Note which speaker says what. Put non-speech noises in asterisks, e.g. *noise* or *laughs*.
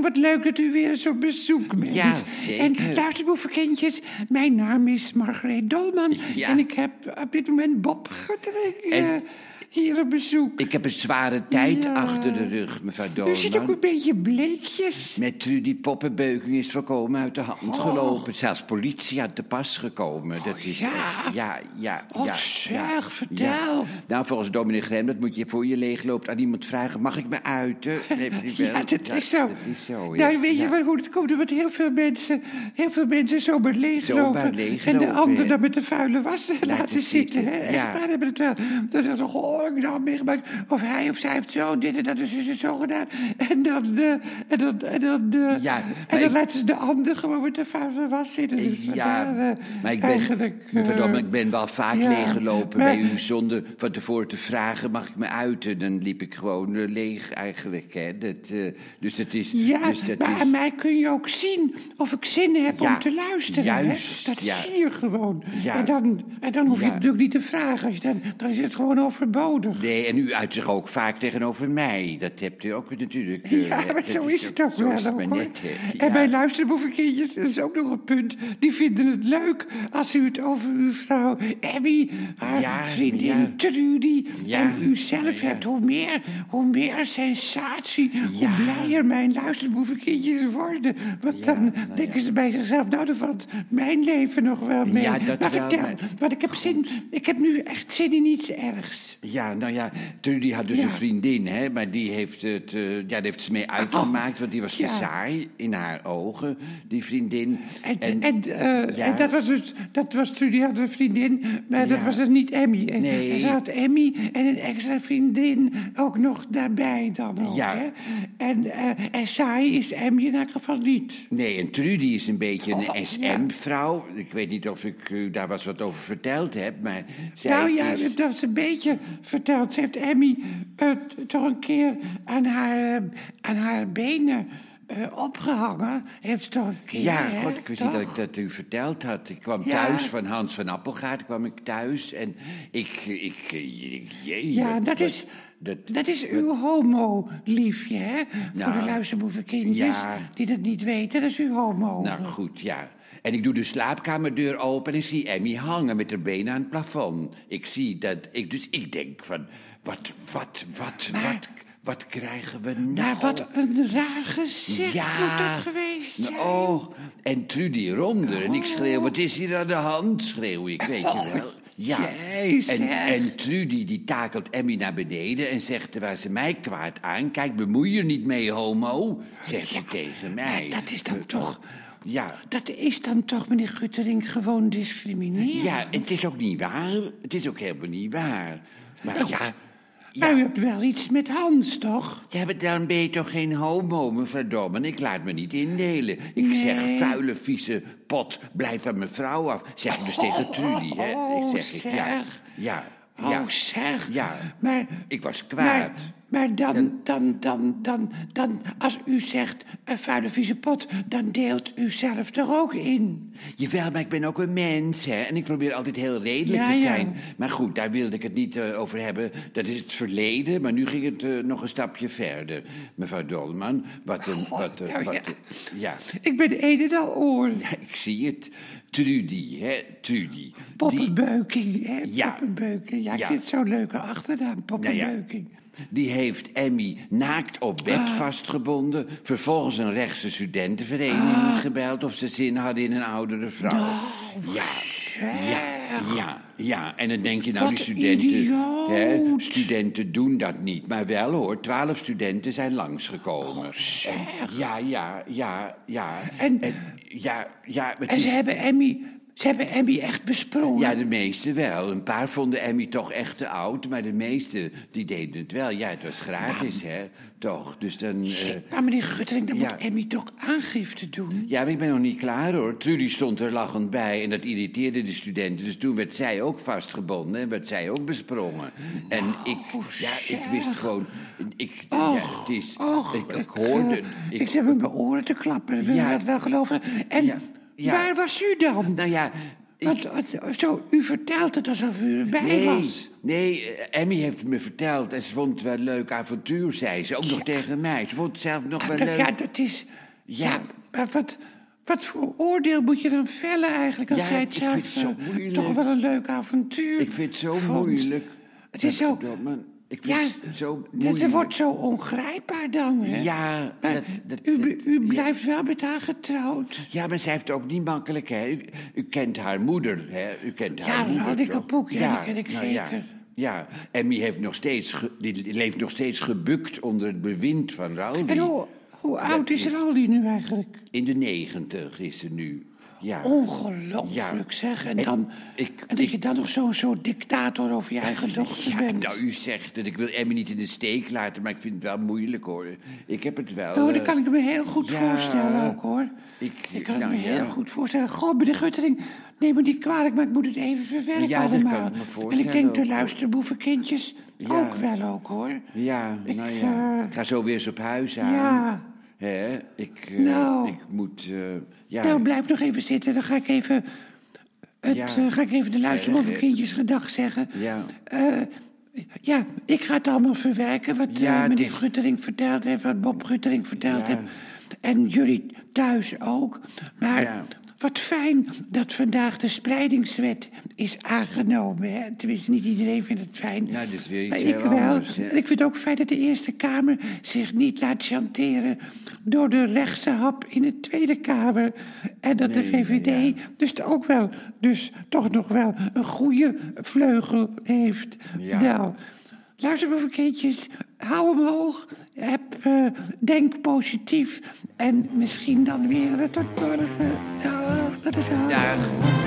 Speaker 1: wat leuk dat u weer eens op bezoek bent.
Speaker 2: Ja, zeker.
Speaker 1: En luisterboevenkindjes, mijn naam is Margreet Dolman.
Speaker 2: Ja.
Speaker 1: En ik heb op dit moment Bob Guttering eh,
Speaker 2: En-
Speaker 1: hier op bezoek.
Speaker 2: Ik heb een zware tijd
Speaker 1: Ja.
Speaker 2: achter de rug, mevrouw
Speaker 1: U ziet ook
Speaker 2: Dolman.
Speaker 1: een beetje bleekjes.
Speaker 2: Met Trudy Poppenbeuking is voorkomen uit de hand
Speaker 1: Oh.
Speaker 2: gelopen. Zelfs politie aan de pas gekomen. dat is
Speaker 1: ja?
Speaker 2: echt- ja, ja,
Speaker 1: Oh,
Speaker 2: ja.
Speaker 1: zeg,
Speaker 2: ja,
Speaker 1: vertel.
Speaker 2: ja. Nou, volgens dominee Grem, dat moet je voor je leeg loopt aan iemand vragen. Mag ik me
Speaker 1: *laughs*
Speaker 2: uiten? Nee, ik wel.
Speaker 1: Ja, dat is zo.
Speaker 2: Dat is zo, ja.
Speaker 1: nou, weet
Speaker 2: Ja.
Speaker 1: je wat, hoe het komt? Omdat heel veel mensen, heel veel mensen zo maar leeglopen.
Speaker 2: Zomaar
Speaker 1: en
Speaker 2: leeglopen,
Speaker 1: de ander
Speaker 2: hè?
Speaker 1: dan met de vuile was laten, zitten.
Speaker 2: zitten,
Speaker 1: hè? Echt
Speaker 2: ja.
Speaker 1: waar, hebben het wel. Dan zeggen ze, goh, ik heb nou meegemaakt. Of hij of zij heeft zo, dit en dat, en zus en zo gedaan. En dan, eh, en dan, en dan, eh,
Speaker 2: Ja,
Speaker 1: en dan
Speaker 2: maar ik-
Speaker 1: laten ze de ander gewoon met de vuile was zitten. Dus
Speaker 2: Ja,
Speaker 1: vandaar, eh,
Speaker 2: maar ik ben,
Speaker 1: eigenlijk, eh,
Speaker 2: mevrouw Dolman, ik ben wel vaak
Speaker 1: ja,
Speaker 2: leeggelopen
Speaker 1: maar-
Speaker 2: bij u zonder van tevoren te vragen, mag ik me uiten? Dan liep ik gewoon eh, leeg eigenlijk. Hè. Dat, eh, dus dat is...
Speaker 1: Ja,
Speaker 2: dus dat
Speaker 1: maar
Speaker 2: is,
Speaker 1: aan mij kun je ook zien of ik zin heb
Speaker 2: Ja,
Speaker 1: om te luisteren.
Speaker 2: juist,
Speaker 1: hè? Dat
Speaker 2: ja.
Speaker 1: zie je gewoon.
Speaker 2: Ja.
Speaker 1: En, dan, en dan hoef je
Speaker 2: Ja.
Speaker 1: het natuurlijk niet te vragen. Als je dan, dan is het gewoon overbodig.
Speaker 2: Nee, en u uit zich ook vaak tegenover mij. Dat hebt u ook natuurlijk. eh,
Speaker 1: Ja,
Speaker 2: hè.
Speaker 1: maar
Speaker 2: Dat
Speaker 1: zo is het ook
Speaker 2: zo is
Speaker 1: wel.
Speaker 2: het
Speaker 1: ook,
Speaker 2: maar
Speaker 1: hoor.
Speaker 2: net, hè.
Speaker 1: En
Speaker 2: Ja.
Speaker 1: bij luisterboevenkindjes, dat is ook nog een punt. Die vinden het leuk als u het over uw vrouw Abby, haar
Speaker 2: Ja,
Speaker 1: vriendin
Speaker 2: ja.
Speaker 1: Trudy
Speaker 2: Ja,
Speaker 1: en u zelf
Speaker 2: ja.
Speaker 1: hebt. Hoe meer, hoe meer sensatie,
Speaker 2: Ja.
Speaker 1: hoe blijer mijn luisterboevenkindjes worden. Want dan
Speaker 2: nou
Speaker 1: denken ze bij zichzelf, nou, dan valt mijn leven nog wel mee.
Speaker 2: Ja, dat
Speaker 1: maar
Speaker 2: wel,
Speaker 1: vertel,
Speaker 2: maar-
Speaker 1: want ik heb, zin, ik heb nu echt zin in iets ergs.
Speaker 2: Ja, nou ja, Trudy had dus
Speaker 1: Ja. Oh.
Speaker 2: een vriendin, hè, maar die heeft het, eh, ja, daar heeft ze mee uitgemaakt, want die was te
Speaker 1: ja.
Speaker 2: saai in haar ogen, die vriendin.
Speaker 1: En, en, eh,
Speaker 2: ja.
Speaker 1: en dat was dus, dat was Trudy had een vriendin, maar dat
Speaker 2: Ja.
Speaker 1: was dus niet Emmy. En,
Speaker 2: Nee.
Speaker 1: en ze had Emmy en een extra vriendin ook nog daarbij dan ook.
Speaker 2: Ja.
Speaker 1: Hè? En, eh, en saai is Emmy in elk geval niet.
Speaker 2: Nee, en Trudy is een beetje een
Speaker 1: Oh, ja.
Speaker 2: SM-vrouw. Ik weet niet of ik u daar was wat over verteld heb, maar zij
Speaker 1: nou ja,
Speaker 2: is...
Speaker 1: dat is een beetje verteld. Ze heeft Emmy eh, t- toch een keer aan haar, eh, aan haar benen eh, opgehangen. Heeft ze toch een keer,
Speaker 2: Ja,
Speaker 1: hè?
Speaker 2: God, ik wist niet dat ik dat u verteld had. Ik kwam
Speaker 1: Ja.
Speaker 2: thuis van Hans van Appelgaard, kwam ik thuis en ik... ik, ik jee,
Speaker 1: Ja, dat
Speaker 2: wat-
Speaker 1: is, dat, is uw homo-liefje, hè? Voor de
Speaker 2: Nou,
Speaker 1: luisterboevenkindjes
Speaker 2: ja.
Speaker 1: die dat niet weten, dat is uw homo.
Speaker 2: Nou goed, ja. En ik doe de slaapkamerdeur open en ik zie Emmy hangen met haar benen aan het plafond. Ik zie dat, ik, dus ik denk van, wat, wat, wat, wat, wat krijgen we nou?
Speaker 1: maar wat een raar gezicht moet dat geweest zijn.
Speaker 2: Oh, en Trudy Ronder. En ik schreeuw, wat is hier aan de hand? Schreeuw ik, weet je wel. Ja,
Speaker 1: jee,
Speaker 2: en,
Speaker 1: zeg.
Speaker 2: en Trudy die takelt Emmy naar beneden en zegt terwijl ze mij kwaad aankijkt... bemoei je niet mee, homo, zegt ze tegen mij.
Speaker 1: Dat is dan toch...
Speaker 2: Ja,
Speaker 1: Dat is dan toch, meneer Guttering, gewoon discrimineren.
Speaker 2: Ja, het is ook niet waar. Het is ook helemaal niet waar. Maar ja, ja,
Speaker 1: Maar u hebt wel iets met Hans, toch?
Speaker 2: ja, maar dan ben je toch geen homo, mevrouw Dolman. Ik laat me niet indelen. Ik zeg, vuile, vieze pot, blijf van mijn vrouw af. Zeg ik dus tegen Trudy, hè.
Speaker 1: oh,
Speaker 2: Ik zeg, ik, ja,
Speaker 1: zeg.
Speaker 2: ja,
Speaker 1: Oh,
Speaker 2: ja.
Speaker 1: zeg.
Speaker 2: Ja.
Speaker 1: Maar,
Speaker 2: Ik was kwaad.
Speaker 1: Maar, maar dan, dan, dan, dan, dan, als u zegt een vuile vieze pot, dan deelt u zelf toch ook in.
Speaker 2: Jawel, maar ik ben ook een mens, hè. En ik probeer altijd heel redelijk
Speaker 1: Ja,
Speaker 2: te
Speaker 1: ja.
Speaker 2: zijn. Maar goed, daar wilde ik het niet eh, over hebben. Dat is het verleden, maar nu ging het eh, nog een stapje verder. Mevrouw Dolman, wat een... wat, een-
Speaker 1: nou
Speaker 2: wat
Speaker 1: ja.
Speaker 2: een- ja.
Speaker 1: Ik ben een en al oor.
Speaker 2: Ja, ik zie het. Trudy, hè, Trudy. Die,
Speaker 1: Poppenbeuking, hè?
Speaker 2: Ja.
Speaker 1: Poppenbeuking. Ja, ik
Speaker 2: Ja.
Speaker 1: vind het zo'n leuke achternaam,
Speaker 2: nou ja,
Speaker 1: Poppenbeuking.
Speaker 2: die heeft Emmy naakt op bed
Speaker 1: Ah.
Speaker 2: vastgebonden. Vervolgens een rechtse studentenvereniging
Speaker 1: Ah.
Speaker 2: gebeld of ze zin hadden in een oudere vrouw.
Speaker 1: Oh,
Speaker 2: ja. Ja, ja, ja. En dan denk je, nou,
Speaker 1: Wat
Speaker 2: die studenten,
Speaker 1: idioot.
Speaker 2: studenten doen dat niet. Maar wel hoor, twaalf studenten zijn langsgekomen. en, ja, ja, ja, ja.
Speaker 1: Oh, En-
Speaker 2: ja, ja, het
Speaker 1: En
Speaker 2: is-
Speaker 1: ze hebben Emmy, ze hebben Emmy echt besprongen.
Speaker 2: Ja, de meeste wel. Een paar vonden Emmy toch echt te oud, maar de meeste die deden het wel. Ja, het was gratis, hè? Toch? Dus dan. eh,
Speaker 1: maar meneer Guttering, dan
Speaker 2: ja.
Speaker 1: moet Emmy toch aangifte doen?
Speaker 2: Ja, maar ik ben nog niet klaar hoor. Trudy stond er lachend bij en dat irriteerde de studenten. Dus toen werd zij ook vastgebonden en werd zij ook besprongen. En ik, ja, ik wist gewoon. Ik, ja, het is.
Speaker 1: Nou, Och,
Speaker 2: ik, ik hoorde.
Speaker 1: Ik,
Speaker 2: Ik,
Speaker 1: zit met mijn oren te klappen, wil je
Speaker 2: Ja.
Speaker 1: dat wel geloven? En
Speaker 2: Ja, ja.
Speaker 1: waar was u dan?
Speaker 2: nou ja,
Speaker 1: Wat, wat- zo, u vertelt het alsof u erbij
Speaker 2: Nee,
Speaker 1: was.
Speaker 2: nee, eh, Emmy heeft me verteld en ze vond het wel een leuk avontuur, zei ze. Ook nog tegen mij. Ze vond het zelf nog wel leuk.
Speaker 1: Ja, Ah, dat is...
Speaker 2: Ja.
Speaker 1: Ja, maar wat, wat voor oordeel moet je dan vellen eigenlijk... als
Speaker 2: Ja,
Speaker 1: zij
Speaker 2: ik
Speaker 1: het
Speaker 2: vind het
Speaker 1: zelf
Speaker 2: zo
Speaker 1: eh,
Speaker 2: moeilijk.
Speaker 1: toch wel een leuk avontuur
Speaker 2: Ik vind het zo
Speaker 1: vond?
Speaker 2: moeilijk.
Speaker 1: Het is zo...
Speaker 2: Godverdomme, Ik vind
Speaker 1: Ja,
Speaker 2: het zo
Speaker 1: dit-
Speaker 2: moeilijk.
Speaker 1: ze wordt zo ongrijpbaar dan, hè?
Speaker 2: Ja,
Speaker 1: Maar
Speaker 2: dat- dat-
Speaker 1: u, bl-
Speaker 2: dat-
Speaker 1: u
Speaker 2: ja.
Speaker 1: blijft wel met haar getrouwd.
Speaker 2: Ja, maar zij heeft het ook niet makkelijk, hè. U, u kent haar moeder, hè. U kent haar
Speaker 1: Ja,
Speaker 2: moeder.
Speaker 1: Raldike
Speaker 2: toch?
Speaker 1: Poek, ja, die ken ik
Speaker 2: Ja.
Speaker 1: zeker.
Speaker 2: Ja, Emmy heeft nog steeds ge- die leeft nog steeds gebukt onder het bewind van
Speaker 1: En
Speaker 2: Raldi.
Speaker 1: hoe, hoe oud is Raldi nu eigenlijk?
Speaker 2: In de negentig is ze nu. Ja.
Speaker 1: Oh, Ongelooflijk zeg. En, dan,
Speaker 2: ik-
Speaker 1: en dat je dan nog zo'n soort dictator over je eigen dochter
Speaker 2: Ja,
Speaker 1: bent.
Speaker 2: nou, u zegt dat ik wil Emmy niet in de steek laten, maar ik vind het wel moeilijk, hoor. Ik heb het wel...
Speaker 1: Nou,
Speaker 2: eh,
Speaker 1: dat kan ik me heel goed
Speaker 2: ja,
Speaker 1: voorstellen ook hoor.
Speaker 2: ik-
Speaker 1: Ik, kan het
Speaker 2: nou,
Speaker 1: me
Speaker 2: ja.
Speaker 1: heel goed voorstellen. Goh, meneer Guttering, neem me niet kwalijk, maar ik moet het even verwerken
Speaker 2: Ja, dat kan ik
Speaker 1: allemaal.
Speaker 2: me
Speaker 1: en ik
Speaker 2: voorstellen
Speaker 1: denk de
Speaker 2: ook, hoor.
Speaker 1: luisterboevenkindjes
Speaker 2: Ja.
Speaker 1: ook wel ook hoor.
Speaker 2: Ja,
Speaker 1: Ik,
Speaker 2: nou ja.
Speaker 1: eh,
Speaker 2: ik ga zo weer eens op huis aan.
Speaker 1: ja.
Speaker 2: Hè? Ik, eh,
Speaker 1: Nou.
Speaker 2: ik moet... eh, ja,
Speaker 1: Nou, blijf nog even zitten, dan ga ik even, het,
Speaker 2: Ja.
Speaker 1: eh, ga ik even de luisterboevenkindjes gedag zeggen.
Speaker 2: Ja.
Speaker 1: Eh, ja, ik ga het allemaal verwerken wat eh,
Speaker 2: Ja, het
Speaker 1: meneer
Speaker 2: is-
Speaker 1: Guttering verteld heeft, wat Bob Guttering verteld
Speaker 2: Ja.
Speaker 1: heeft. En jullie thuis ook. Maar
Speaker 2: Ja.
Speaker 1: wat fijn dat vandaag de spreidingswet is aangenomen. Hè? Tenminste, niet iedereen vindt het fijn.
Speaker 2: Ja, dat Nou, is weer iets
Speaker 1: maar
Speaker 2: heel
Speaker 1: ik wel.
Speaker 2: anders, hè.
Speaker 1: En ik vind het ook fijn dat de Eerste Kamer zich niet laat chanteren door de rechtse hap in de Tweede Kamer. En dat de VVD dus ook wel, dus toch nog wel een goede vleugel heeft.
Speaker 2: Ja.
Speaker 1: Nou, luister maar, kindjes, hou omhoog, heb, eh, denk positief en misschien dan weer eh, tot morgen. Dag, dag, dag.
Speaker 2: Dag.